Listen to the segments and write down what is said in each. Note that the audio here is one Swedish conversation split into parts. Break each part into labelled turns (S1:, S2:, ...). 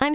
S1: I'm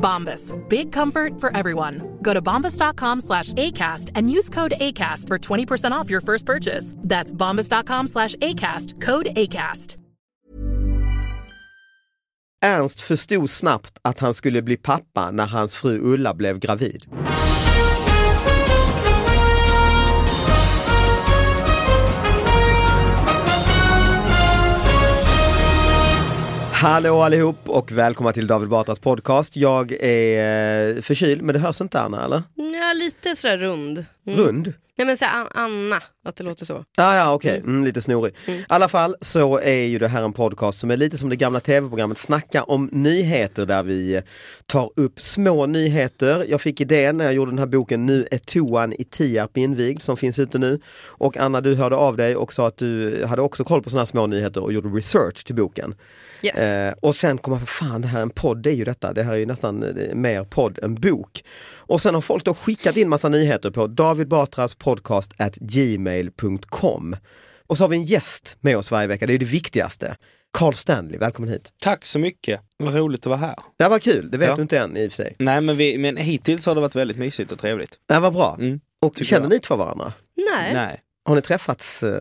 S2: Bombas. Big comfort for everyone. Go to bombas.com slash ACAST and use code ACAST for 20% off your first purchase. That's bombas.com slash ACAST. Code ACAST.
S3: Ernst förstod snabbt att han skulle bli pappa när hans fru Ulla blev gravid. Hallå allihop och välkomna till David Batras podcast. Jag är eh, förkyld men det hörs inte Anna eller?
S4: Ja, lite sådär rund. Mm.
S3: Rund?
S4: Nej men såhär An- Anna, att det låter så.
S3: Ah, ja, okej, mm, lite snorig. I alla fall så är ju det här en podcast som är lite som det gamla tv-programmet Snacka om nyheter där vi eh, tar upp små nyheter. Jag fick idén när jag gjorde den här boken Nu är toan i Tierp invigd som finns ute nu. Och Anna du hörde av dig och sa att du hade också koll på sådana här små nyheter och gjorde research till boken.
S4: Yes.
S3: Eh, och sen kom jag på, fan det här är en podd, det är ju detta, det här är ju nästan eh, mer podd än bok. Och sen har folk då skickat in massa nyheter på David Batras podcast at gmail.com. Och så har vi en gäst med oss varje vecka, det är det viktigaste. Carl Stanley, välkommen hit.
S5: Tack så mycket. Vad roligt att vara här.
S3: Det här var kul, det vet
S5: Ja.
S3: du inte än i och för sig.
S5: Nej, men, vi, men hittills har det varit väldigt mysigt och trevligt.
S3: Det här var bra.
S5: Mm.
S3: och
S5: tycker
S3: känner
S5: jag.
S3: ni inte för varandra?
S4: Nej.
S5: Nej.
S3: Har ni träffats? eh,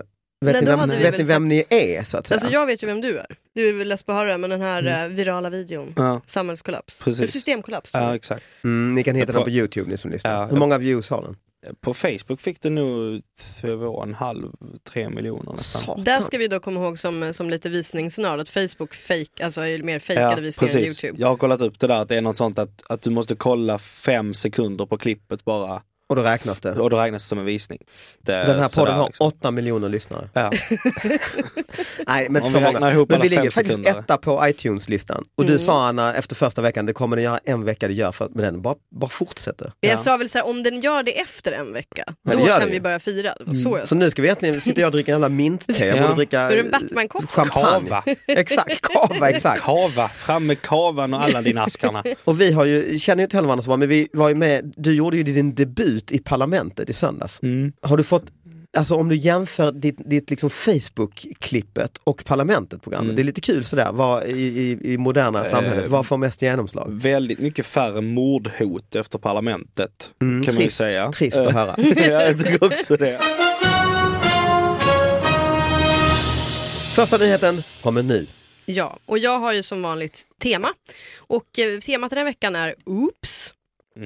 S3: Vet,
S4: Nej,
S3: ni,
S4: då
S3: vem,
S4: hade vi
S3: vet
S4: väl
S3: ni vem ni är så att säga?
S4: Alltså jag vet ju vem du är. Du är väl less på att höra men den här
S3: Mm.
S4: eh, virala videon,
S5: Ja,
S4: samhällskollaps.
S5: Precis.
S4: Eh, Systemkollaps.
S5: ja exakt.
S3: mm, ni kan hitta
S5: Jag
S3: den
S5: på-
S3: på Youtube ni som lyssnar.
S5: Ja,
S3: Hur
S5: jag-
S3: många views har den?
S5: På Facebook fick det nog två och en halv, tre miljoner nästan.
S3: Satan.
S4: Där ska vi då komma ihåg som, som lite visningsnörd att Facebook fake, alltså är ju mer fejkade visningar än Youtube.
S5: Jag har kollat upp det där att det är något sånt att, att du måste kolla fem sekunder på klippet bara
S3: Och då räknas det.
S5: och då räknas det som en visning. Det, är
S3: Den här
S5: sådär
S3: podden har
S5: liksom.
S3: 8 miljoner lyssnare.
S5: Ja.
S3: Nej, men
S5: Om
S3: så
S5: vi
S3: många.
S5: räknar ihop
S3: Men
S5: alla
S3: vi ligger
S5: fem
S3: faktiskt
S5: sekunder.
S3: etta på iTunes-listan. Och
S4: Mm.
S3: du sa Anna, efter första veckan, det kommer den göra en vecka, det gör för men den bara, bara fortsätter.
S4: Jag sa väl så här, om den gör det efter en vecka,
S3: Ja, det
S4: då
S3: gör
S4: kan
S3: det
S4: vi
S3: ju. Mm.
S4: börja fira. Det var Så jag
S3: Så nu ska vi egentligen sitta jag och dricka en jävla mintte, jag
S5: Ja.
S3: borde dricka
S4: Är det en
S3: eh,
S4: Batman-kopp?
S3: champagne.
S5: Kava.
S3: Exakt, kava, exakt.
S5: Kava, fram med kavan och alla dina askarna.
S3: Och vi har ju, känner ju inte heller varandra så bra, men vi var ju med, du gjorde ju din debut i parlamentet i söndags.
S5: Mm.
S3: Har du fått, alltså om du jämför ditt, ditt liksom Facebook-klippet och parlamentet programmet,
S5: Mm.
S3: det är lite kul sådär, vad i, i, i
S5: Eh,
S3: moderna samhället, vad får mest genomslag?
S5: Väldigt mycket färre mordhot efter parlamentet kan man ju
S3: trist,
S5: säga. Eh,
S3: trist att höra.
S5: ja, jag tycker också det.
S3: Första nyheten kommer nu.
S4: Ja, och jag har ju som vanligt tema. Och eh, temat den här veckan är Oops.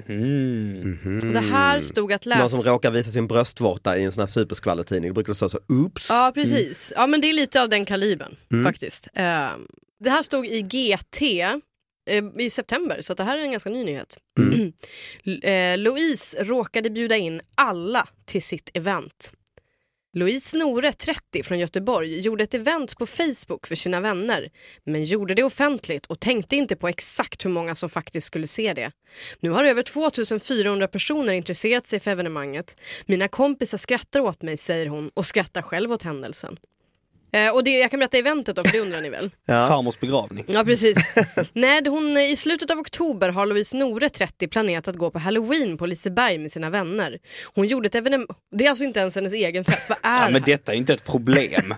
S5: Mhm.
S4: Det här stod att läsa.
S3: Någon som råkar visa sin bröstvårta i en sån här superskvallertidning, då brukar det stå så, oops.
S4: Ja, precis. Ja, men det är lite av den kalibern faktiskt. Eh, det här stod i GT eh, i september, så att det här är en ganska ny nyhet. L- eh, Louise råkade bjuda in alla till sitt event. Louise Nore, 30, från Göteborg, gjorde ett event på Facebook för sina vänner men gjorde det offentligt och tänkte inte på exakt hur många som faktiskt skulle se det. Nu har över 2400 personer intresserat sig för evenemanget. Mina kompisar skrattar åt mig, säger hon och skrattar själv åt händelsen. Eh, och det, jag kan berätta eventet då, för det undrar ni väl?
S5: Farmors begravning.
S4: Ja precis. Nej, hon, I slutet av oktober har Louise Nore, 30, planerat att gå på halloween på Liseberg med sina vänner. Hon gjorde ett evenemang, det är alltså inte ens hennes egen fest, vad är
S5: Ja, men
S4: det här?
S5: detta är inte ett problem.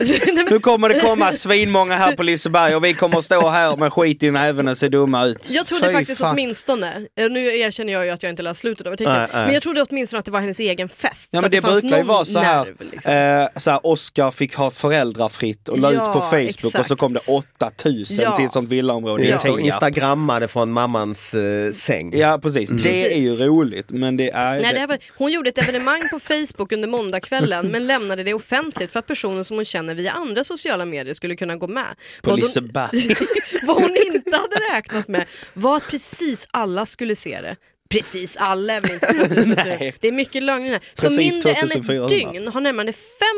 S5: Nu kommer det komma svinmånga här på Liseberg och vi kommer att stå här med skit i näven och se dumma ut.
S4: Jag trodde
S5: Fy
S4: faktiskt
S5: fan.
S4: åtminstone, eh, nu erkänner jag ju att jag inte läst slutet av artikeln,
S3: Nej, nej.
S4: men jag trodde åtminstone att det var hennes egen fest. så
S5: Ja, men
S4: att
S5: det
S4: fanns
S5: brukar ju
S4: någon
S5: vara så här,
S4: nerv, liksom.
S5: eh, så här, Oscar fick ha föräldrar fritt och la ut
S4: Ja,
S5: på Facebook och så
S4: exakt.
S5: kom det 8000
S4: Ja.
S5: till ett sånt villaområde i
S4: Ja.
S5: Tierp.
S3: Instagrammade från mammans eh, säng.
S5: Ja precis, det är
S4: Precis.
S5: ju roligt men det är...
S4: Nej, det här var, hon gjorde ett evenemang på Facebook under måndagskvällen men lämnade det offentligt för att personer som hon känner via andra sociala medier skulle kunna gå med.
S5: På
S4: Vad hon-
S5: Liseberg.
S4: Vad hon inte hade räknat med var att precis alla skulle se det. Precis alla är väl inte 2004.
S5: Nej.
S4: Det är mycket lögner här. Så
S5: Precis
S4: mindre än ett
S5: 2400.
S4: dygn har närmare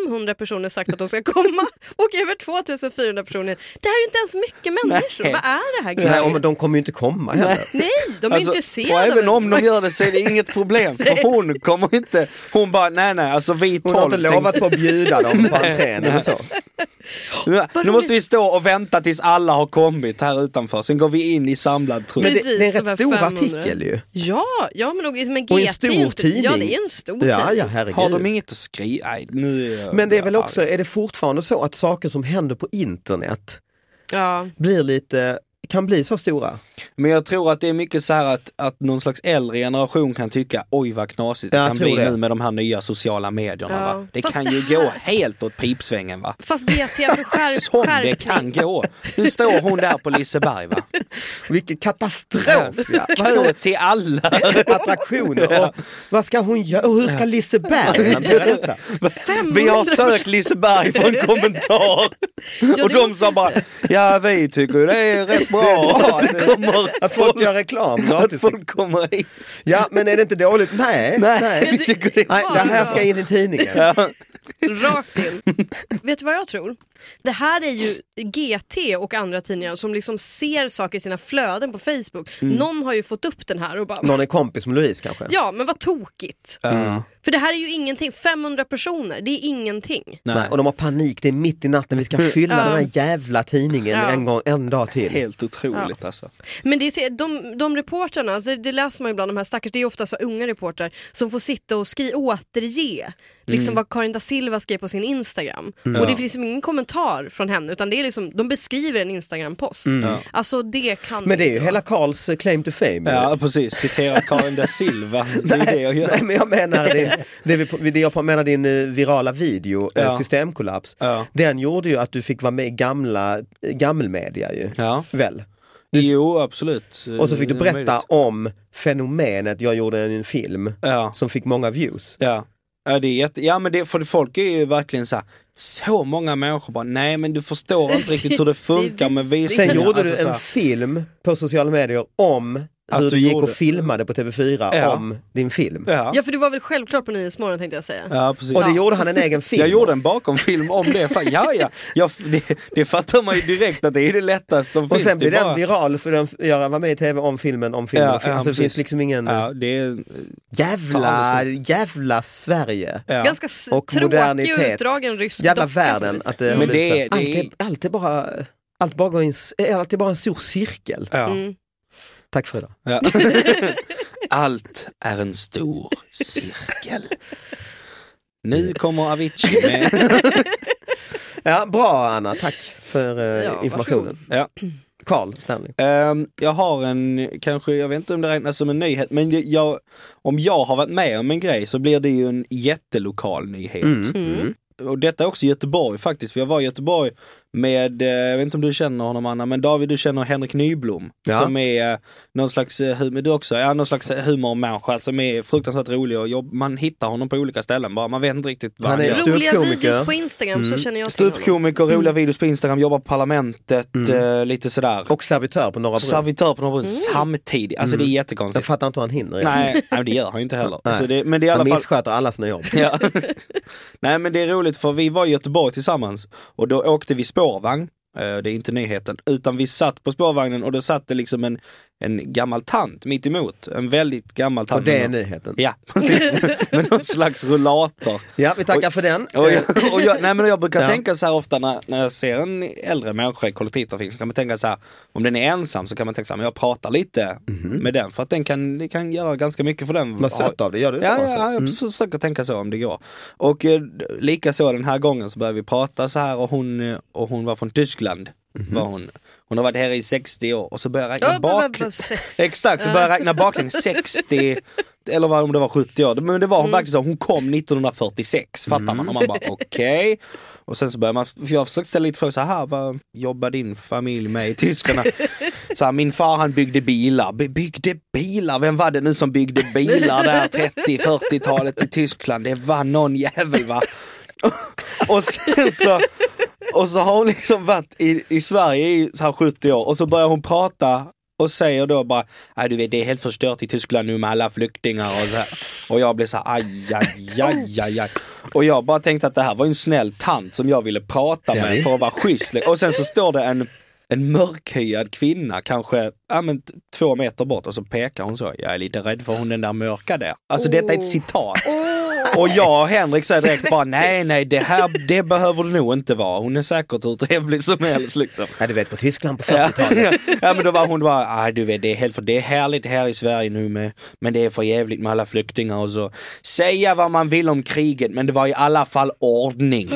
S4: 500 personer sagt att de ska komma och över 2400 personer. Det här är ju inte ens mycket människor.
S5: Nej.
S4: Vad är det
S3: Nej,
S4: här? grejen?
S3: och men de kommer ju inte komma heller.
S4: Nej, de är
S5: Alltså,
S4: intresserade.
S5: och även
S4: av
S5: om de gör det så är det inget problem för hon kommer inte, hon bara nej nej alltså vi
S3: Hon
S5: tolv
S3: har inte lovat på att bjuda dem på entrén eller så.
S5: tänkte, nu måste vi stå och vänta tills alla har kommit här utanför, sen går vi in i samlad trupp.
S3: Men det, det är en
S4: Precis, de
S3: rätt
S4: här
S3: stor
S4: 500.
S3: artikel ju.
S4: Ja, ja men och, men GT
S3: Och en
S4: är ju
S3: stor
S4: inte-
S3: tidning.
S4: Ja, det är en stor
S3: Ja,
S4: tidning.
S3: ja, herregud.
S5: Har de inget att skriva? Nej, nu är jag,
S3: Men det är väl
S5: jag
S3: också, är det fortfarande så att saker som händer på internet
S4: Ja.
S3: blir lite, kan bli så stora?
S5: Men jag tror att det är mycket så här att, att någon slags äldre generation kan tycka oj vad knasigt det
S3: Ja, jag
S5: kan
S3: tror
S5: bli
S3: det.
S5: nu med de här nya sociala medierna.
S4: Ja.
S5: Va? Det
S4: Fast
S5: kan
S4: det
S5: ju
S4: här-
S5: gå helt åt pipsvängen va.
S4: Fast GT för skärp,
S5: Som det
S4: skärpning.
S5: kan gå. Nu står hon där på Liseberg va.
S3: Vilken katastrof! Ja. Vad ska
S5: Kö till alla.
S3: hon- Attraktioner och vad ska hon göra? Och hur ska Liseberg hantera detta?
S5: Vi har sökt Liseberg för en kommentar.
S4: det
S5: och de
S4: måste
S5: sa
S4: jag
S5: bara, ja vi tycker ju det är rätt bra att det kommer
S3: Att folk gör reklam
S5: att
S3: gratis.
S5: folk kommer hit.
S3: Ja men är det inte dåligt? Nej, nej.
S5: Nej, vi tycker det
S3: Nej,
S5: är
S3: det här ska in i tidningen.
S4: Rakt in. Vet du vad jag tror? Det här är ju GT och andra tidningar som liksom ser saker i sina flöden på Facebook. Någon har ju fått upp den här och bara
S3: Mm. Någon är kompis med Louise kanske?
S4: Ja, men vad tokigt.
S5: Mm.
S4: För det här är ju ingenting. 500 personer, det är ingenting.
S3: Nej. Och de har panik, det är mitt i natten, vi ska fylla den här jävla tidningen
S4: Ja.
S3: en, gång, en dag till.
S5: Mm. Helt otroligt alltså.
S4: Men det är, de, de reportrarna, alltså det, det läser man ju ibland, de här stackars, det är ju ofta så unga reportrar som får sitta och skri, återge liksom vad Karin da Silva skrev på sin Instagram. Och det finns liksom ingen kommentar från henne utan det är liksom, de beskriver en Instagram-post. Alltså det kan
S3: Men det är ju
S4: inte
S3: hela Karls eh, claim to fame.
S5: Ja precis, citera Karin da Silva. Det är det jag gör.
S3: Nej men jag menar din, det, vi, det jag menar din eh, virala video, eh,
S5: Ja.
S3: systemkollaps.
S5: Ja.
S3: Den gjorde ju att du fick vara med i gamla, eh, gammelmedia ju.
S5: Ja.
S3: Väl?
S5: Jo absolut.
S3: Och så fick du
S5: Det är
S3: berätta
S5: möjligt.
S3: om fenomenet, jag gjorde en film
S5: Ja.
S3: som fick många views.
S5: Ja. Ja, det är jätte... ja men det, för folk är ju verkligen så här, så många människor bara, nej men du förstår inte riktigt hur det funkar med visningar.
S3: Sen gjorde du
S5: Alltså, så
S3: en
S5: här,
S3: film på sociala medier om
S5: Att
S3: hur
S5: du
S3: du gick
S5: gjorde-
S3: och filmade på TV4
S5: Ja.
S3: om din film.
S5: Ja.
S4: Ja för du var väl självklart på Nyhetsmorgon tänkte jag säga.
S5: Ja, precis.
S3: Och det gjorde han en egen film.
S5: Jag gjorde en bakomfilm om det. Fan, ja, ja. Jag, det, det fattar man ju direkt att det är det lättaste som
S3: och
S5: finns.
S3: sen
S5: det är
S3: blev den
S5: bara-
S3: viral för den, Göran var med i TV om filmen om filmen.
S5: Ja,
S3: om filmen.
S5: ja,
S3: alltså, det finns
S5: precis.
S3: liksom ingen
S5: Ja, det är...
S3: jävla, jävla Sverige.
S5: Ja.
S4: Ganska s-
S3: Och
S4: tråkig
S3: modernitet.
S4: och utdragen rysk
S3: Jävla
S4: docka på något
S3: världen.
S4: vis.
S3: Att det,
S5: Men
S3: har blivit
S5: det är-
S3: så här.
S5: det är-
S3: allt, är, allt, är bara, allt, bara går i en, s- är allt är bara en stor cirkel.
S5: Ja.
S3: Tack för idag.
S5: Ja. Allt är en stor cirkel. Nu kommer Avicii med...
S3: Ja, bra Anna, tack för eh,
S4: Ja,
S3: informationen.
S5: Ja.
S3: Carl Stanley.
S5: Ehm, jag har en, kanske, jag vet inte om det räknas som en nyhet, men det- jag, om jag har varit med om en grej så blir det ju en jättelokal nyhet.
S3: Mm.
S5: Och detta är också Göteborg faktiskt, för jag var i Göteborg med, eh, jag vet inte om du känner honom Anna, men David du känner Henrik Nyblom.
S3: Ja.
S5: Som är eh, någon slags, eh, hum- du också, ja, någon slags humormänniska som är fruktansvärt rolig och jobb, man hittar honom på olika ställen bara, man vet inte riktigt vad
S3: Han
S5: han
S3: är
S5: gör.
S3: stor-
S4: Roliga
S3: Ståuppkomiker.
S4: videos på Instagram
S3: Mm.
S4: så känner jag till honom.
S5: Ståuppkomiker, roliga videos på Instagram, jobbar på Parlamentet,
S3: Mm.
S5: eh, lite sådär.
S3: Och servitör på Norra Brunn.
S5: Servitör på Norrbrunn samtidigt, alltså det är
S3: Mm. Jag
S5: jättekonstigt.
S3: fattar inte hur han hinner. egentligen.
S5: Nej, nej, men det gör han ju inte heller.
S3: Nej.
S5: Så det, men det är i alla
S3: han
S5: fall...
S3: missköter alla sina jobb.
S5: Ja. Nej men det är roligt för vi var i Göteborg tillsammans och då åkte vi spårvagn, eh, det är inte nyheten, utan vi satt på spårvagnen och då satt det liksom en, en gammal tant mitt emot. En väldigt gammal tant.
S3: Och det är nyheten.
S5: Ja, precis. Med någon slags rullator.
S3: Ja, vi tackar för den. Eh,
S5: Och jag, och jag, nej men jag brukar
S3: Ja.
S5: tänka så här ofta när, när jag ser en äldre människa i kollektivtrafiken, så kan man tänka så här, om den är ensam så kan man tänka så här, men jag pratar lite med den för att den kan, det kan göra ganska mycket för den.
S3: Mhm. Vad sött av dig, gör du så
S5: Ja,
S3: bra
S5: ja,
S3: så? Mm.
S5: ja, jag försöker tänka så om det går. Och eh, d- lika så den här gången så började vi prata så här och hon, eh, och hon var från Tyskland.
S3: Mhm.
S5: Var hon. hon har varit här i 60 år och så började jag
S4: Ja,
S5: räkna
S4: men vad-
S5: bak...
S4: vad sex.
S5: Exakt, så började jag räkna baklänges 60 eller vad- om det var 70 år, men det var
S4: Mm.
S5: hon verkligen så, hon kom 1946, fattar man? Och man bara okej. Och sen så börjar man, för jag försökte ställa lite frågor, så här, vad jobbar din familj med i Tyskland? så här, min far han byggde bilar, By- byggde bilar, vem var det nu som byggde bilar där 30-40-talet i Tyskland? Det var någon jävel va? och sen så och så har hon liksom varit i, i Sverige i så här 70 år och så börjar hon prata och säger då bara, nej du vet det är helt förstört i Tyskland nu med alla flyktingar och så här. Och jag blir så här, aj, aj, aj, aj, aj. Och jag bara tänkte att det här var ju en snäll tant som jag ville prata med för att vara schysst. Och sen så står det en, en mörkhyad kvinna, kanske ja, men, t- två meter bort och så pekar hon så, jag är lite rädd för hon den där mörka där. Alltså detta är ett citat. Och jag och Henrik säger direkt bara nej, nej, det här det behöver du nog inte vara. Hon är säkert hur trevlig som helst liksom.
S3: Ja, du vet på Tyskland på
S5: Ja,
S3: 40-talet.
S5: ja men då var hon bara, ah, du vet det är, helt, för det är härligt här i Sverige nu med, men det är för jävligt med alla flyktingar och så. Säga vad man vill om kriget men det var i alla fall ordning.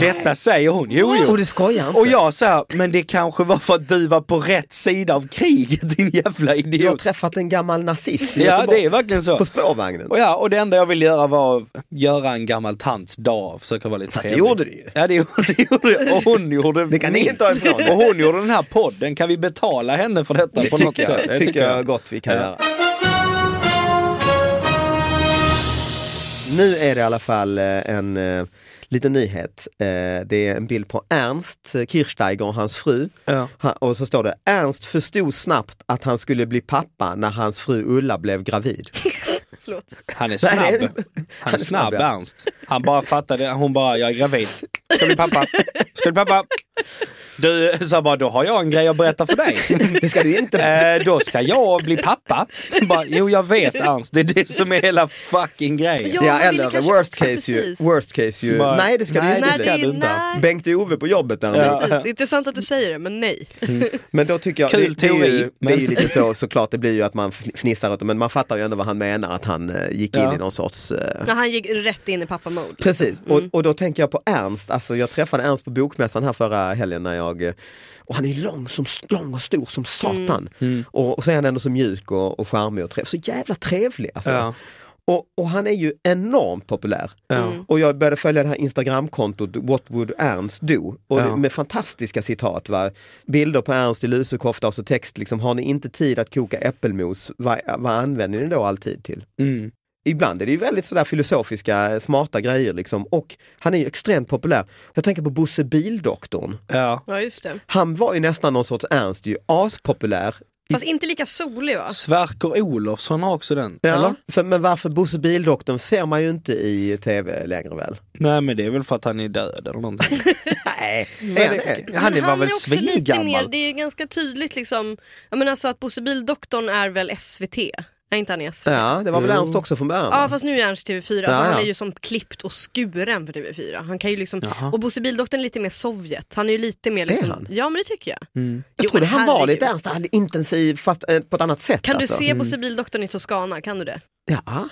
S5: Detta säger hon, jo jo.
S3: Och du skojar inte?
S5: Och jag säger, men det kanske var för att du var på rätt sida av kriget din jävla
S3: Jag har
S5: idiot.
S3: träffat en gammal nazist i
S5: Ja
S3: Göteborg.
S5: det är verkligen så.
S3: På spårvagnen.
S5: Och, ja, och det enda jag ville göra var att göra en gammal tants dag och försöka vara lite
S3: Fast det
S5: trevlig.
S3: gjorde du ju.
S5: Ja det gjorde, det gjorde jag. Och hon gjorde
S3: Det kan
S5: min.
S3: ingen ta ifrån dig.
S5: Och hon gjorde den här podden. Kan vi betala henne för detta
S3: Det
S5: på något
S3: tycker jag,
S5: sätt?
S3: det tycker jag gott vi kan
S5: Ja.
S3: göra. Nu är det i alla fall eh, en eh, liten nyhet. Eh, det är en bild på Ernst Kirchsteiger och hans fru.
S5: Ja.
S3: Ha- Och så står det Ernst förstod snabbt att han skulle bli pappa när hans fru Ulla blev gravid.
S4: Förlåt.
S5: Han är snabb.
S3: Nej, det är-
S5: Han är snabb
S3: ja.
S5: Ernst. Han bara fattade, hon bara, jag är gravid. Ska bli pappa. Ska bli pappa. Du sa bara, då har jag en grej att berätta för dig.
S3: Det ska du inte.
S5: Eh, då ska jag bli pappa. Bara, jo jag vet Ernst, det är det som är hela fucking grejen.
S4: Ja,
S3: Ja,
S4: man ville
S3: eller the
S4: kanske-
S3: worst case ju.
S4: Precis.
S3: Worst case ju.
S5: Bara,
S3: Nej det ska du
S5: nej,
S3: inte.
S4: Nej,
S5: det
S4: det
S5: ska
S4: är-
S5: du inte.
S4: nej.
S3: Bengt-Ove på jobbet däremot.
S4: Precis. Intressant att du säger det, men nej.
S3: Men då tycker jag,
S5: Kul
S3: det, det, är
S5: teori,
S3: ju, det
S5: men-
S3: är ju lite så såklart, det blir ju att man fn- fnissar åt det, men man fattar ju ändå vad han menar att han eh, gick in
S5: Ja.
S3: i någon sorts eh,
S4: När han gick rätt in i pappa-mode.
S3: Precis,
S5: Mm.
S3: och, och då tänker jag på Ernst, alltså jag träffade Ernst på bokmässan här förra helgen när jag eh, och han är lång, som, lång och stor som
S5: Mm.
S3: satan. Och, och så är han ändå så mjuk och, och charmig och trevlig. Så jävla trevlig alltså.
S5: Ja.
S3: Och, och han är ju enormt populär. Mm. Och jag började följa det här Instagramkontot What would Ernst do? Och
S5: Ja.
S3: Med fantastiska citat. Va? Bilder på Ernst i lusekofta och så text liksom, har ni inte tid att koka äppelmos, vad, vad använder ni då all tid till?
S5: Mm.
S3: Ibland är det ju väldigt sådär filosofiska, eh, smarta grejer liksom. Och han är ju extremt populär. Jag tänker på Bosse Bildoktorn.
S5: Ja.
S4: Ja, just det.
S3: Han var ju nästan någon sorts Ernst, ju aspopulär.
S4: Fast inte lika solig va?
S5: Sverker Olofsson har också den.
S3: Ja,
S5: Eller?
S3: för, men varför Bosse Bildoktorn ser man ju inte i tv längre väl?
S5: Nej men det är väl för att han är död eller någonting.
S3: Nej, är
S5: Men
S3: han det?
S5: det- han är
S4: Men
S5: var väl
S4: också lite mer-
S5: svingammal.
S4: Det är ganska tydligt liksom, jag menar så att Bosse Bildoktorn är väl SVT? Nej inte han är SVT. Ja.
S3: Ja, det var väl Ernst också från början? va?
S4: fast nu är han 4 alltså,
S3: Ja, ja.
S4: han är ju som klippt och skuren för TV4. Han kan ju liksom, och Bosse Bildoktorn är lite mer Sovjet, han är ju lite mer liksom,
S3: han? Mm.
S4: ja men det tycker jag.
S3: Jag trodde han var lite
S4: där.
S3: Ernst, han är intensiv fast eh, på ett annat sätt.
S4: Kan
S3: alltså.
S4: du se Bosse Bildoktorn i Toscana, kan du det?
S3: Ja.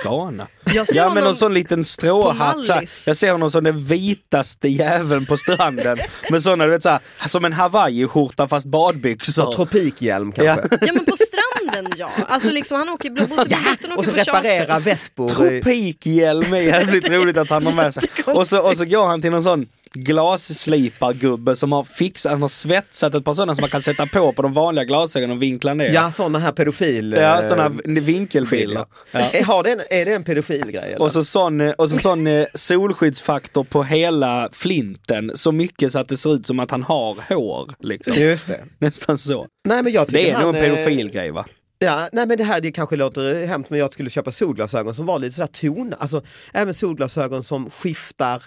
S5: Skana.
S4: Jag ser
S5: Ja men
S4: honom-
S5: någon sån liten stråhatt. Så här.
S4: Mallis.
S5: Jag ser honom som den vitaste jäveln på stranden. Med såna, du vet, så här, som en hawaiiskjorta fast badbyxor.
S3: Tropikhjälm kanske?
S4: Ja men på stranden ja, alltså liksom han åker, Bosse Bildoktorn
S3: Och så
S4: åker på charter.
S3: reparera vespor. i-
S5: Tropikhjälm är jävligt roligt att han har med sig. Och så, och så går han till någon sån glasslipargubbe som har fixat, han har svetsat ett par sådana som man kan sätta på på de vanliga glasögonen och vinkla ner.
S3: Ja, sådana här pedofil...
S5: Ja,
S3: eh,
S5: sådana vinkelbilder. Ja.
S3: Är, har den, är det en pedofilgrej? eller?
S5: Och så sån, och så sån eh, solskyddsfaktor på hela flinten, så mycket så att det ser ut som att han har hår. Liksom.
S3: Just det.
S5: Nästan så.
S3: Nej, men jag tycker
S5: Det är
S3: han,
S5: nog en
S3: eh,
S5: pedofilgrej va?
S3: Ja, nej men det här det kanske låter hemskt men jag skulle köpa solglasögon som var lite sådär ton, alltså även solglasögon som skiftar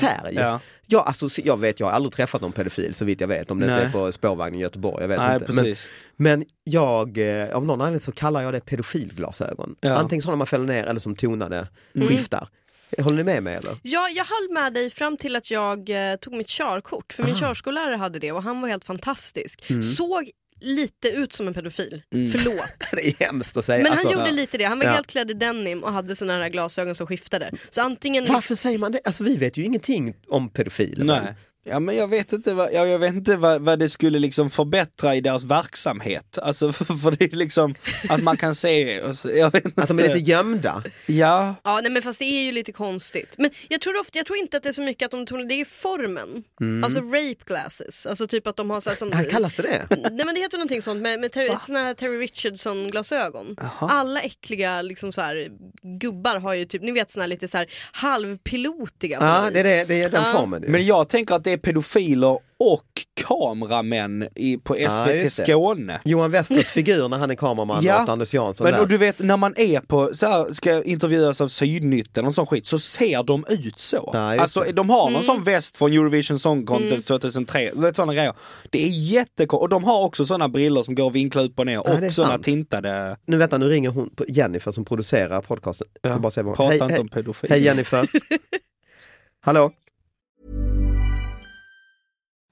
S3: färg.
S5: ja.
S3: Jag, alltså, jag vet, jag har aldrig träffat någon pedofil så vitt jag vet, om det inte
S5: Nej.
S3: är på spårvagnen i Göteborg, jag vet
S5: Nej,
S3: inte. Men,
S5: precis.
S3: men jag, eh, av någon anledning så kallar jag det pedofilglasögon.
S5: Ja. Mm.
S3: Antingen sådana man fäller ner eller som tonade skiftar. Håller ni med mig eller? Alltså,
S4: Ja, jag höll med dig fram till att jag eh, tog mitt körkort. För min körskollärare hade det och han var helt fantastisk.
S3: Mm.
S4: Såg lite ut som en pedofil. Förlåt.
S3: Det är hemskt att säga.
S4: Men
S3: Mm. alltså.
S4: han gjorde lite det. Han var
S3: Ja.
S4: helt klädd i denim och hade såna här glasögon som skiftade. Så antingen...
S3: Varför säger man det? Alltså vi vet ju ingenting om pedofiler.
S5: Nej. Ja men jag vet inte, vad, ja, jag vet inte vad, vad det skulle liksom förbättra i deras verksamhet. Alltså för, för det är liksom att man kan se, och så- jag vet inte.
S3: Att de är lite gömda.
S5: Ja,
S4: Ja, nej, men fast det är ju lite konstigt. Men jag tror, ofta, jag tror inte att det är så mycket att de tonar, det är formen.
S3: Mm.
S4: Alltså rape glasses. Alltså typ att de har så här som...
S3: Ja, Kallas det det?
S4: Nej men det heter någonting sånt med, med Terry, såna här Terry Richardson glasögon. Alla äckliga liksom så här, gubbar har ju typ, ni vet såna här lite så här halvpilotiga på
S3: Ja,
S4: något
S3: det är,
S4: vis.
S3: det, det är den formen. ju.
S5: men jag tänker att det är pedofiler och kameramän i, på SVT
S3: just det.
S5: Skåne.
S3: Johan Westers figur när han är kameraman åt Anders Jansson.
S5: men
S3: där.
S5: och du vet när man är på, så här, ska intervjuas av Sydnytt eller någon sån skit, så ser de ut så.
S3: Ja, just
S5: alltså
S3: det.
S5: de har någon
S4: Mm.
S5: sån väst från Eurovision Song Contest 2003, du vet, sådana grejer. Det är jättekonstigt, och de har också sådana briller som går att vinkla upp och ner
S3: Ja, det är
S5: och sådana
S3: sant.
S5: tintade.
S3: Nu vänta, nu ringer hon, på- Jennifer som producerar podcasten. Jag bara säger vad-
S5: Prata
S3: hej,
S5: inte
S3: hej,
S5: om pedofiler.
S3: Hej Jennifer. Hallå?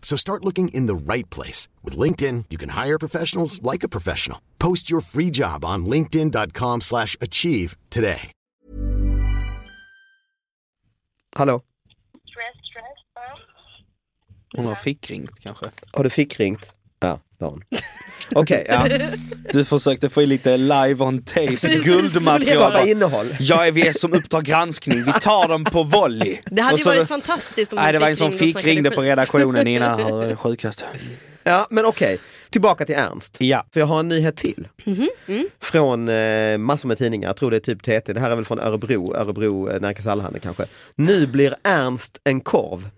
S6: So start looking in the right place. With LinkedIn, you can hire professionals like a professional. Post your free job on linkedin.com/achieve slash achieve today.
S3: Hallå?
S5: Hon har fickringt kanske.
S3: Har du fickringt? Ja, det har hon. Okej, ja.
S5: Du försökte få in lite live on tape, guldmaterial.
S3: Skapa
S5: bara.
S3: innehåll.
S5: Ja, vi är som Uppdrag granskning, vi tar dem på volley.
S4: Det hade
S5: Och
S4: ju
S5: så-
S4: varit fantastiskt om
S5: Nej,
S4: de
S5: det var en som
S4: fickringde och
S5: fick
S4: snackade
S5: ringde på
S4: skit.
S5: redaktionen innan, här eh, är sjukast.
S3: Ja, men okej. Tillbaka till Ernst.
S5: Ja.
S3: För jag har en nyhet till. Från eh, massor med tidningar, jag tror det är typ TT, det här är väl från Örebro, Örebro eh, Närkes Allehanda kanske. Nu blir Ernst en korv.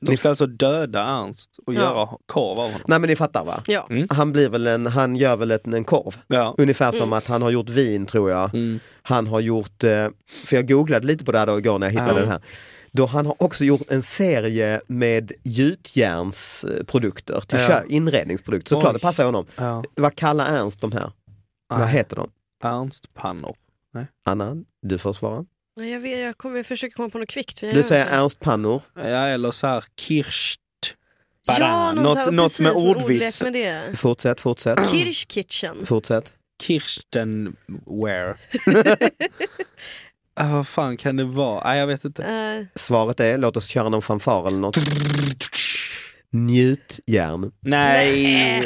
S5: De ska alltså döda Ernst och göra korv av honom.
S3: Nej men ni fattar va? Mm.
S4: Ja.
S5: Mm.
S3: Han, blir väl en, han gör väl en, en korv.
S5: Ja.
S3: Ungefär som
S5: Mm.
S3: att han har gjort vin tror jag. Han har gjort, eh, för jag googlade lite på det här då igår när jag hittade den här. Då han har också gjort en serie med gjutjärnsprodukter, till kö- inredningsprodukter. Såklart,
S5: Oj.
S3: det passar ju honom.
S5: Ja.
S3: Vad kallar Ernst de här? Vad heter de?
S5: Ernst Pannor.
S3: Anna, du får svara.
S4: Nej, jag, vet, jag, kommer, jag försöker komma på något kvickt. men jag
S3: Du
S4: gör
S3: säger
S4: inte.
S3: Ernst Pannor.
S5: Ja, eller så här Kirst.
S4: Ja,
S5: Banan.
S4: någon
S5: Något-
S4: så här-
S5: något med
S4: precis, en
S5: ordvits.
S4: ordlek Med
S3: Fortsätt, fortsätt.
S4: det. Kirsch Kitchen.
S3: Fortsätt.
S5: Kirstenware. ah, vad fan kan det vara? Nej, jag vet inte.
S4: Eh,
S3: Svaret är, låt oss köra någon fanfar eller något. Njutjärn.
S5: Nej!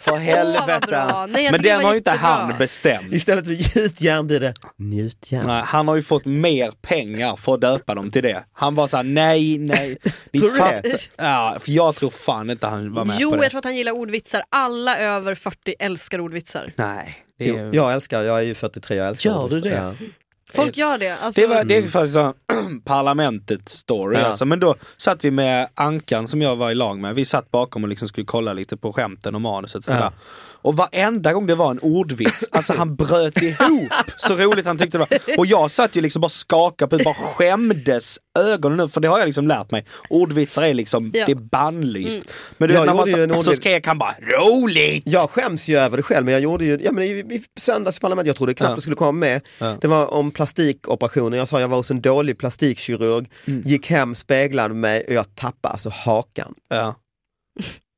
S5: För helvete.
S4: bra.
S5: Ernst.
S4: Nej, jag tycker
S5: Men den
S4: det
S5: har
S4: var
S5: ju inte han
S4: jättebra.
S5: bestämt.
S3: Istället för gjutjärn blir det njutjärn.
S5: Nej, han har ju fått mer pengar för att döpa dem till det. Han var såhär, nej, nej. Ni
S3: Tror du
S5: fattar-
S3: det?
S5: Ja, för jag tror fan inte han var med på
S4: jo,
S5: det.
S4: jag tror att han gillar ordvitsar. Alla över 40 älskar ordvitsar.
S5: Nej. Det,
S3: Jo,
S5: är...
S3: jag älskar, jag är ju 43, jag älskar
S5: Gör
S3: Elvis.
S5: du det?
S3: Ja.
S4: Folk gör det. Alltså,
S5: det, var, det är faktiskt så parlamentet story.
S3: Ja.
S5: Alltså. Men då satt vi med Ankan som jag var i lag med. Vi satt bakom och liksom skulle kolla lite på skämten och manuset. Sådär. Och varenda gång det var en ordvits, alltså han bröt ihop. Så roligt han tyckte det var. Och jag satt ju liksom bara skakade på huvudet, bara skämdes ögonen nu. För det har jag liksom lärt mig. Ordvitsar är liksom,
S4: Ja.
S5: det är bannlyst. Men du
S3: Jag
S5: vet när man
S3: gjorde ju en
S5: så, så
S3: ordvits-
S5: skrek han bara roligt!
S3: Jag skäms ju över det själv, men jag gjorde ju, ja men i, i söndags i parlamentet, jag trodde knappt det skulle komma med. Det var om plastikoperationer, jag sa jag var hos en dålig plastikkirurg,
S5: Mm.
S3: gick hem, speglade mig och jag tappade alltså hakan.
S5: Ja.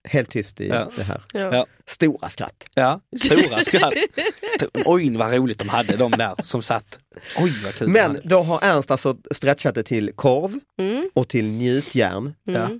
S3: Helt tyst i
S5: Ja.
S3: det här.
S5: Ja.
S3: Stora skratt.
S5: Ja, stora skratt. Stor- Oj vad roligt de hade de där som satt. Oj vad kul de
S3: Men
S5: hade.
S3: då har Ernst alltså stretchat det till korv och till njutjärn.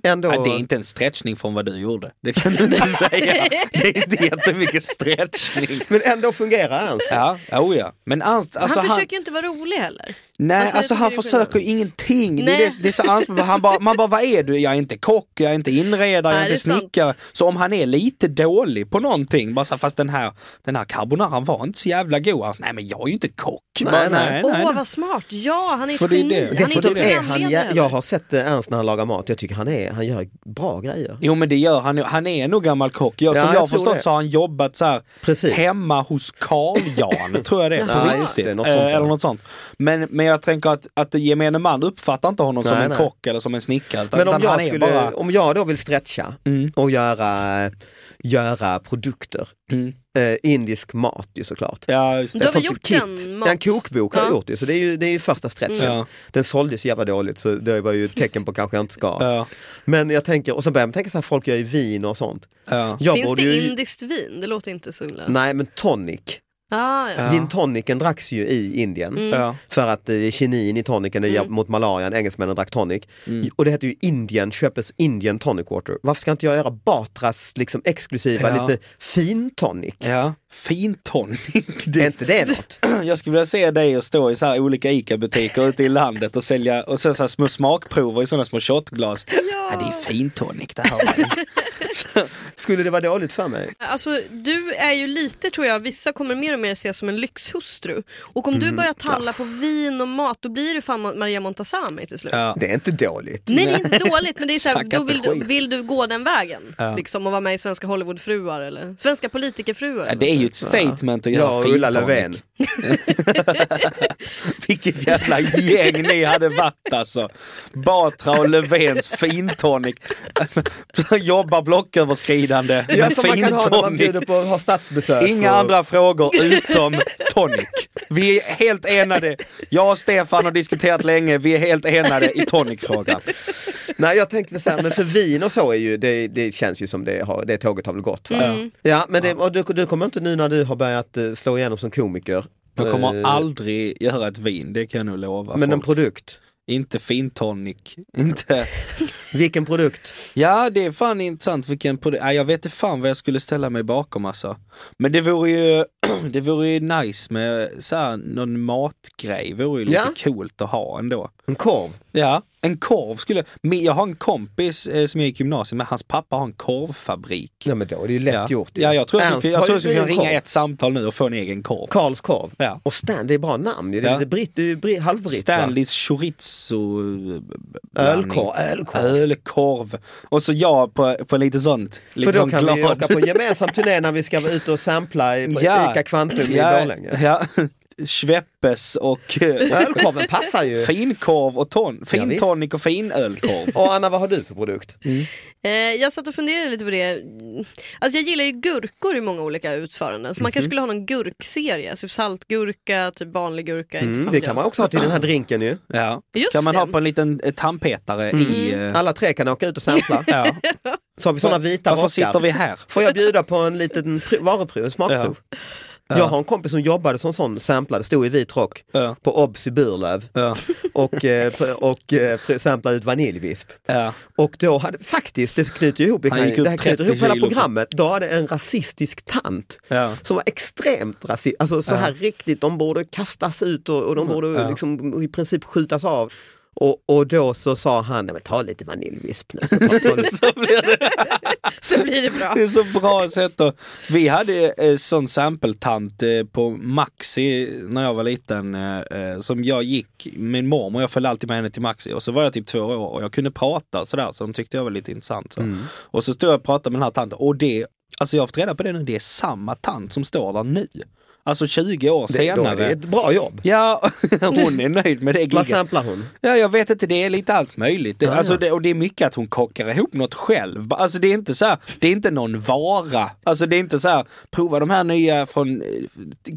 S3: Ändå,
S5: Nej, det är inte en stretchning från vad du gjorde. Det kan du inte säga. Det är inte jättemycket stretchning.
S3: Men ändå fungerar Ernst.
S5: Ja, oh ja. Men Ernst, alltså
S4: han
S5: han,
S4: försöker ju inte vara rolig heller.
S5: Nej,
S4: Alltså,
S5: alltså,
S4: jag
S5: han
S4: tycker det är
S5: försöker ingenting. Det är,
S4: Nej.
S5: det, det är så ansvar, han bara, man bara, vad är du? Jag är inte kock, jag är inte inredare, jag
S4: Nej, det
S5: är
S4: är
S5: inte
S4: sant.
S5: snickare. Så om han är lite dålig på någonting, bara så här, fast den här, den här carbonaran var inte så jävla god. Alltså, nej men jag är ju inte kock.
S3: Nej,
S5: Bara,
S3: nej.
S4: Åh, vad smart! Ja, han är typ ett
S5: För det är
S4: geni.
S5: det.
S4: Han
S5: För
S3: Dessutom
S5: det är det.
S3: är han, jä- jag har sett eh, Ernst när han lagar mat, jag tycker han, är, han gör bra grejer.
S5: Jo men det gör han ju. han är nog gammal kock. Jag,
S3: Ja,
S5: som
S3: jag
S5: jag har
S3: tror
S5: förstått
S3: det.
S5: så har han jobbat så här
S3: Precis.
S5: hemma hos Karl-Jan, tror jag det är, på
S3: Ja, just
S5: riktigt.
S3: det, något
S5: Eh,
S3: sånt, ja.
S5: Eller något sånt. Men, men jag tänker att, att gemene man uppfattar inte honom som
S3: Nej,
S5: en
S3: nej.
S5: kock eller som en snickare. Utan,
S3: Men om
S5: utan
S3: jag,
S5: han är
S3: skulle,
S5: bara... Mm.
S3: om jag då vill stretcha och göra, göra produkter, eh, indisk mat ju såklart.
S5: Mm. Ja, just
S4: Du
S5: det.
S4: har
S3: Ett
S4: väl
S3: sånt
S4: gjort
S3: kit.
S4: en
S3: Ja, en
S4: mat?
S3: kokbok har jag
S4: Ja.
S3: gjort det, så det är ju, det är ju första stretchen.
S5: Ja.
S3: Den såldes jävla dåligt så det var ju ett tecken på kanske jag inte ska.
S5: Ja.
S3: Men jag tänker, och så börjar man tänka så här, folk gör ju vin och sånt.
S5: Ja.
S3: Jag
S4: Finns
S3: borde
S4: det
S3: ju,
S4: indiskt vin? Det låter inte så himla...
S3: nej men tonic,
S4: Ah, ja.
S3: gin tonicen dracks ju i Indien.
S5: Ja.
S3: För att eh, kinin i tonicen är mot malarian, engelsmännen drack tonic.
S5: Mm.
S3: Och det heter ju Indien, köpes Indian tonic water. Varför ska inte jag göra Batras liksom exklusiva,
S5: Ja.
S3: lite fin tonic?
S5: Ja, fin tonic.
S3: Är
S5: Du,
S3: inte det något?
S5: jag skulle vilja se dig och stå i så här olika ICA-butiker ute i landet och sälja och sen så här små smakprover i sådana små shotglas. Ja. det är fin tonic det här.
S3: Skulle det vara dåligt för mig?
S4: Alltså, du är ju lite, tror jag, vissa kommer mer och mer se som en lyxhustru. Och om du
S5: Mm,
S4: börjar talla på vin och mat, då blir du fan Maria Montazami till slut.
S5: Ja.
S3: Det är inte dåligt.
S4: Nej det är inte dåligt men det är så här,
S5: Snacka
S4: då vill
S5: inte
S4: du,
S5: skit.
S4: vill du gå den vägen? Liksom och vara med i svenska Hollywoodfruar eller svenska politikerfruar?
S5: Ja,
S4: eller
S5: det är
S4: något.
S5: ju ett statement att göra
S3: Jag och Ulla
S5: fintonic.
S3: Löfven.
S5: Vilket jävla gäng ni hade varit alltså. Batra och Löfvens fintonic. Jobbar blocköverskridande
S3: Ja,
S5: med
S3: som man kan ha när man
S5: fintonic.
S3: bjuder på att ha statsbesök.
S5: Inga
S3: och-
S5: andra frågor utom tonic. Vi är helt enade. Jag och Stefan har diskuterat länge, vi är helt enade i tonicfrågan.
S3: Nej jag tänkte så här, men för vin och så är ju, det, det känns ju som det, har, det tåget har väl gått. Va? Ja men det, och du, du kommer inte nu när du har börjat eh, slå igenom som komiker.
S5: Jag kommer
S3: eh,
S5: aldrig göra ett vin, det kan jag nog lova.
S3: Men en
S5: folk.
S3: produkt,
S5: Inte fintonic. Inte...
S3: vilken produkt?
S5: Ja det är fan intressant vilken produ- ja, Jag vet inte fan vad jag skulle ställa mig bakom alltså. Men det vore ju, det vore ju nice med så här, någon matgrej, vore ju lite
S3: Ja.
S5: coolt att ha ändå.
S3: En korv?
S5: Ja, en korv skulle, men jag har en kompis eh, som jag gick i gymnasiet med, hans pappa har en korvfabrik.
S3: Nej men då är det ju lätt
S5: ja.
S3: gjort. ju.
S5: ja, jag tror jag
S3: Ernst
S5: skulle, jag
S3: har
S5: tror
S3: ju
S5: jag skulle kunna
S3: en korv.
S5: ringa ett samtal nu och få en egen korv.
S3: Karls korv.
S5: Ja.
S3: Och Stan, det är bra namn ju. Det är
S5: Ja.
S3: lite britt, du är bri, halvbritt
S5: Stanleys chorizo...
S3: Ölkorv, ölkorv.
S5: Ölkorv. Och så jag på, på lite sånt.
S3: För
S5: Lite
S3: då
S5: sån
S3: kan vi
S5: liksom glad.
S3: åka på en gemensam turné när vi ska vara ute och sampla i- på ICA Kvantum i
S5: ja,
S3: Borlänge.
S5: Ja, Schweppes och eh,
S3: Ölkorven passar ju.
S5: finkorv och ton, fin
S3: visst.
S5: tonic och fin ölkorv.
S3: Och Anna, vad har du för produkt?
S4: Eh, jag satt och funderade lite på det. Alltså jag gillar ju gurkor i många olika utföranden. Så man
S5: Mhm.
S4: kanske skulle ha någon gurkserie. Typ saltgurka, typ vanlig gurka. inte
S3: Mm,
S4: fan
S3: det
S4: vet
S3: kan
S4: jag.
S3: man också ha till den här drinken ju.
S5: Ja.
S4: Just
S5: kan man
S4: det.
S5: ha på en liten eh, tandpetare i... eh,
S3: Alla tre kan åka ut och sampla.
S5: Ja.
S3: Så har vi sådana vita
S5: Varför sitter vi här?
S3: Får jag bjuda på en liten pri- varuprov, en smakprov? Jag har en kompis som jobbade som sån samplade, stod i vit rock
S5: Ja.
S3: på Obs i Burlöv
S5: Ja.
S3: och, eh, pr- och eh, pr- samplade ut vaniljvisp.
S5: Ja.
S3: Och då hade, faktiskt, det knyter ju ihop, det
S5: Han
S3: kan-
S5: gick upp
S3: det här knyter
S5: 30
S3: ihop hela
S5: kilo.
S3: programmet, då hade en rasistisk tant
S5: Ja.
S3: som var extremt rasist, alltså så här riktigt, de borde kastas ut och, och de borde liksom, i princip skjutas av. Och, och då så sa han, "Nej, men ta lite vaniljvisp nu. Så ta, ta lite.
S4: Så blir det bra.
S5: Det är så bra sätt att... Vi hade eh, sån sampeltant eh, på Maxi när jag var liten eh, eh, som jag gick, min mormor, jag följde alltid med henne till Maxi och så var jag typ två år och jag kunde prata sådär så de tyckte jag var lite intressant. Så.
S3: Mm.
S5: Och så stod jag och pratade med den här tanten och det, alltså jag har fått reda på det nu, det är samma tant som står där nu. Alltså 20 år
S3: Det, då är det
S5: senare.
S3: ett bra jobb.
S5: Ja, hon är nöjd med det
S3: Vad
S5: giget.
S3: samplar hon?
S5: Ja, jag vet inte, det är lite allt möjligt. Det, alltså, det, och det är mycket att hon kockar ihop något själv. Alltså det är inte så här, det är inte någon vara. Alltså det är inte så här, prova de här nya från, eh,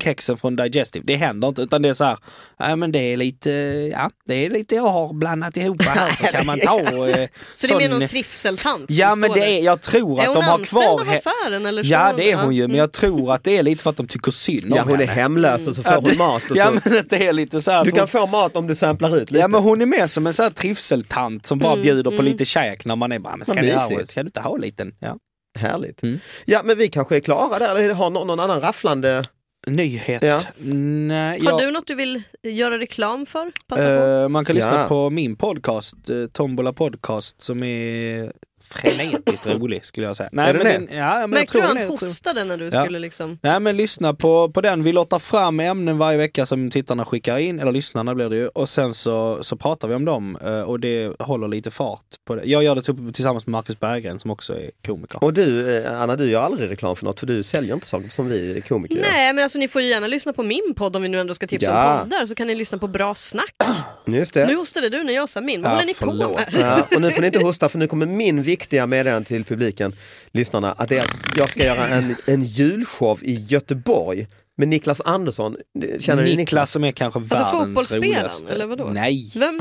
S5: kexen från Digestive. Det händer inte, utan det är så här, ja men det är lite, ja, det är lite jag har blandat ihop här så kan man ta. eh,
S4: Så det är mer
S5: sån-
S4: någon trivseltant som
S5: Ja men
S4: står
S5: det
S4: där.
S5: är, jag tror
S4: Är
S5: att
S4: hon
S5: de har kvar
S4: anställd av affären eller så?
S5: Ja det är hon
S4: Ja.
S5: ju, men jag tror att det är lite för att de tycker synd om
S3: Ja, hon är
S5: henne.
S3: hemlös och så får hon mat. Och
S5: Mm. Ja
S3: så.
S5: men att det är lite så här att
S3: Du
S5: hon-
S3: kan få mat om du samplar ut lite.
S5: Ja men hon är mer som en sån här trivseltant som
S4: Mm,
S5: bara bjuder på lite käk när man är bara, men ska,
S3: Vad
S5: du, ha,
S3: mysigt.
S5: ska du inte ha en liten? Ja. Mm.
S3: Härligt. Ja men vi kanske är klara där, eller har någon, någon annan rafflande?
S5: nyhet?
S3: Ja.
S5: Nej,
S4: Har
S5: jag-
S4: du något du vill göra reklam för? Passa på.
S5: Eh, man kan lyssna
S3: Ja.
S5: på min podcast, eh, Tombola podcast, som är frenetiskt rolig skulle jag säga. Nej,
S3: Är den
S5: men den, ja, men jag
S4: Märkte
S5: tror
S4: du han
S5: den är rätt rolig.
S4: hostade när du
S5: Ja.
S4: skulle liksom...
S5: Nej men lyssna på, på den, vi lottar fram ämnen varje vecka som tittarna skickar in, eller lyssnarna blir det ju, och sen så, så pratar vi om dem eh, och det håller lite fart. På det. Jag gör det typ tillsammans med Marcus Berggren som också är komiker.
S3: Och du eh, Anna, du gör aldrig reklam för något för du säljer inte saker som vi komiker gör.
S4: Nej men alltså ni får ju gärna lyssna på min podd om vi nu ändå ska tipsa
S3: Ja.
S4: om poddar så kan ni lyssna på bra snack.
S3: Just det.
S4: Nu hostade du när jag sa min, vad
S5: Ja,
S4: håller ni på
S5: förlåt.
S4: med?
S3: Ja, och nu får ni inte hosta för nu kommer min viktiga meddelande till publiken, lyssnarna, att det är att jag ska göra en, en julshow i Göteborg med Niklas Andersson. Känner ni
S5: Niklas,
S3: Niklas?
S5: som är kanske
S4: Alltså
S5: världens
S4: fotbollsspelaren
S5: roligaste.
S4: eller vadå?
S5: Nej.
S4: Vem?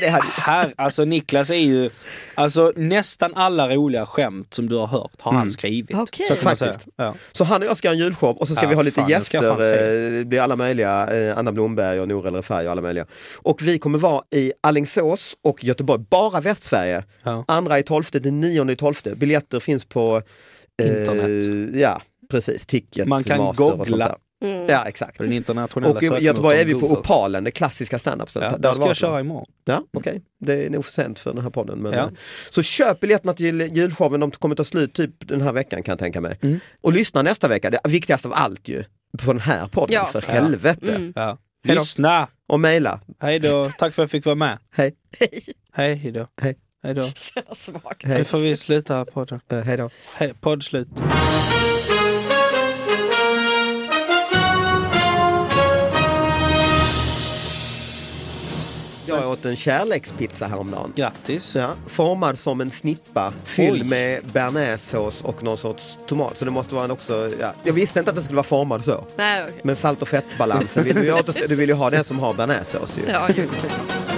S3: Det här,
S5: Här, alltså Niklas är ju, alltså nästan alla roliga skämt som du har hört har han skrivit.
S4: Okej.
S3: så
S5: Kan man säga.
S3: Mm. faktiskt.
S5: Ja.
S3: Så han och jag ska göra en julshow och så ska
S5: Ja,
S3: vi ha lite
S5: fan, det ska jag
S3: gäster,
S5: fan
S3: eh, det blir alla möjliga, eh, Anna Blomberg och Nour eller Färg och alla möjliga. Och vi kommer vara i Alingsås och Göteborg, bara Västsverige.
S5: Ja.
S3: Andra i tolfte, den nionde i tolfte. Biljetter finns på eh,
S5: Internet.
S3: Ja, precis. Ticket,
S5: Man kan
S3: Master och
S5: googla.
S3: sånt där. Ja, exakt.
S5: På den internationella
S3: Och i Göteborg är vi på
S5: sökmotorn Google.
S3: Opalen, det klassiska standup.
S5: Ja, där ska jag köra imorgon.
S3: Ja, okej. Det är nog för sent för den här podden. Men, eh,
S5: Ja.
S3: Så köp biljetterna till julshowen, de kommer ta slut typ den här veckan kan jag tänka mig.
S5: Mm.
S3: Och lyssna nästa vecka, det viktigaste av allt ju, på den här podden,
S4: Ja. Mm.
S3: för
S5: Ja.
S3: helvete.
S5: Ja.
S3: Hejdå.
S5: Lyssna!
S3: Och mejla,
S5: Hej då, tack för att jag fick vara med.
S3: hej,
S5: Hej hej då.
S3: Hej.
S5: Hej då.
S4: Så jävla svagt.
S3: hej,
S5: Nu får vi sluta här podden.
S3: Eh, hej då.
S5: Hej, podd slut.
S3: Jag åt en kärlekspizza häromdagen.
S5: Grattis.
S3: Ja, formad som en snippa, fylld
S5: Oj.
S3: med bearnaisesås och någon sorts tomat. Så det måste vara en också, ja. jag visste inte att den skulle vara formad så.
S4: Nej, okej.
S3: Men salt och fettbalansen, vill du, ju återstä- du vill ju ha den som har bearnaisesås ju.
S4: Ja, jo.